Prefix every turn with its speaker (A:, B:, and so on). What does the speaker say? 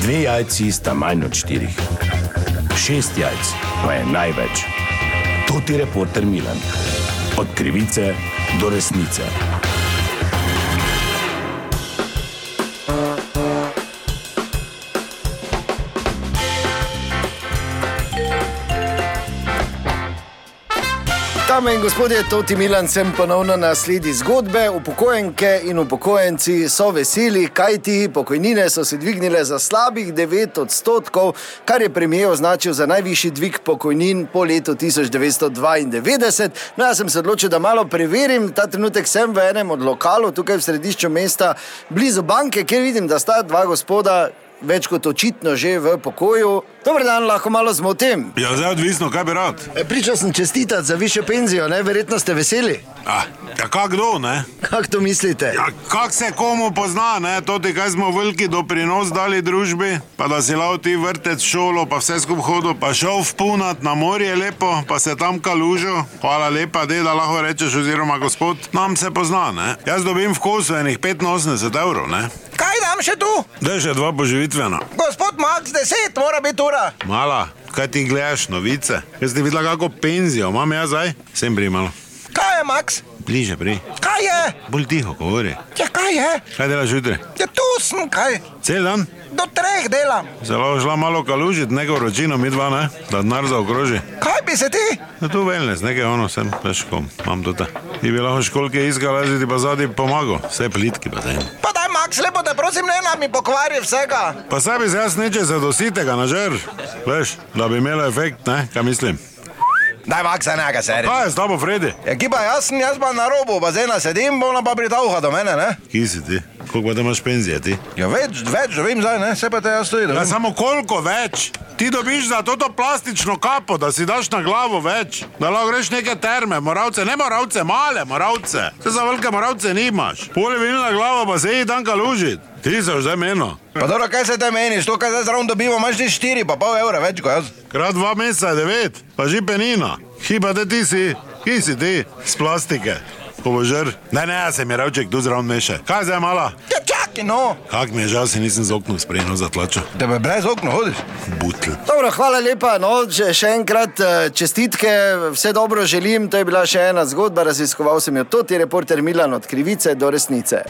A: Dve jajci sta manj od štirih. Šest jajc pa je največ. To ti reporter Milan. Od krivice do resnice.
B: Dame in gospodje, Toti Milan sem ponovno na sledi zgodbe. Upokojenke in upokojenci so veseli, kajti pokojnine so se dvignile za slabih 9 odstotkov, kar je premijer označil za najvišji dvig pokojnin po letu 1992. No, jaz sem se odločil, da malo preverim. Ta trenutek sem v enem od lokalov, tukaj v središču mesta, blizu banke, kjer vidim, da sta dva gospoda. Več kot očitno že v pokoju. Dobro dan, lahko malo zmotim.
C: Ja, zdaj je odvisno, kaj bi rad.
B: E, Pričal sem čestitati za više penzijo, ne? verjetno ste veseli.
C: Ah, ja, kak kdo, ne?
B: Kako to mislite?
C: Ja, kak se komu pozna, ne? To ti, kaj smo veliki doprinos dali družbi, pa da si lao ti vrtec šolo, pa vse skup hodil, pa šel vpunat na morje lepo, pa se tam kalužil. Hvala lepa, deda, lahko rečeš, oziroma gospod, nam se pozna, ne? Jaz dobim v kosu enih 85 evrov, ne?
D: Kaj dam še tu?
C: Daj še dva poživitvena.
D: Gospod Max 10 mora biti ura.
C: Mala, kaj ti gledaš, novice? Jaz ti videla kako penzijo, imam jaz zdaj? Sem primal.
D: Kaj je Max?
C: Bliže, pri.
D: Kaj je?
C: Bolj tiho govori.
D: Ja, kaj je?
C: Kaj delaš jutri?
D: Ja, tu sem kaj.
C: Cel dan?
D: Do treh delam.
C: Zelo šla malo kalužit, neko vročino, mi dva ne, da denar zaokroži.
D: Kaj bi se ti?
C: Ja, tu velnes, nekaj ono sem, težko, imam tudi. Ti bi lahko školke iskala, jaz bi ti pa zadnji pomagal, vse plitki pa zdaj.
D: Pa daj Max, lepo te prosim, ne nam mi pokvari vsega.
C: Pa saj bi se jaz neče zadositega nažer, veš, da bi imelo efekt, ne, kaj mislim.
D: Daj Max, enega seri.
C: Kaj je s tabo, Fredi?
D: Ja, giba jaz sem, jaz pa na robu bazena sedim, bo ona pa pritavha do mene, ne?
C: Kje si ti? Koliko pa te imaš penzije ti?
D: Ja, več, več dobim zdaj, ne? Se pa te jaz stojim.
C: Ja, samo koliko več? Ti dobiš za to plastično kapo, da si daš na glavo več, da lahko greš neke terme, moravce, ne moravce, male moravce. Te za velike moravce nimaš. Poli vini na glavo, pa se jih dan kalužit. Ti se že meno.
D: Pa dobro, kaj se te meniš, to, kaj zdaj zraven dobimo, imaš ti štiri, pa pol evra več kot jaz.
C: Krat dva meseca je devet, pa že penina. Hiba te ti si, ki si ti, z plastike. Pobožer. Ne, ne, jaz sem je ravček tu zraven meše. Kaj zdaj mala?
D: Ja, čakaj, no.
C: Kak mi je žal, si nisem z oknom sprejel zatlačil.
D: Tebe brez okna hodiš.
C: Butl.
B: Dobro, hvala lepa. No, še, še enkrat eh, čestitke, vse dobro želim. To je bila še ena zgodba, raziskoval sem jo, to je reporter Milan od krivice do resnice.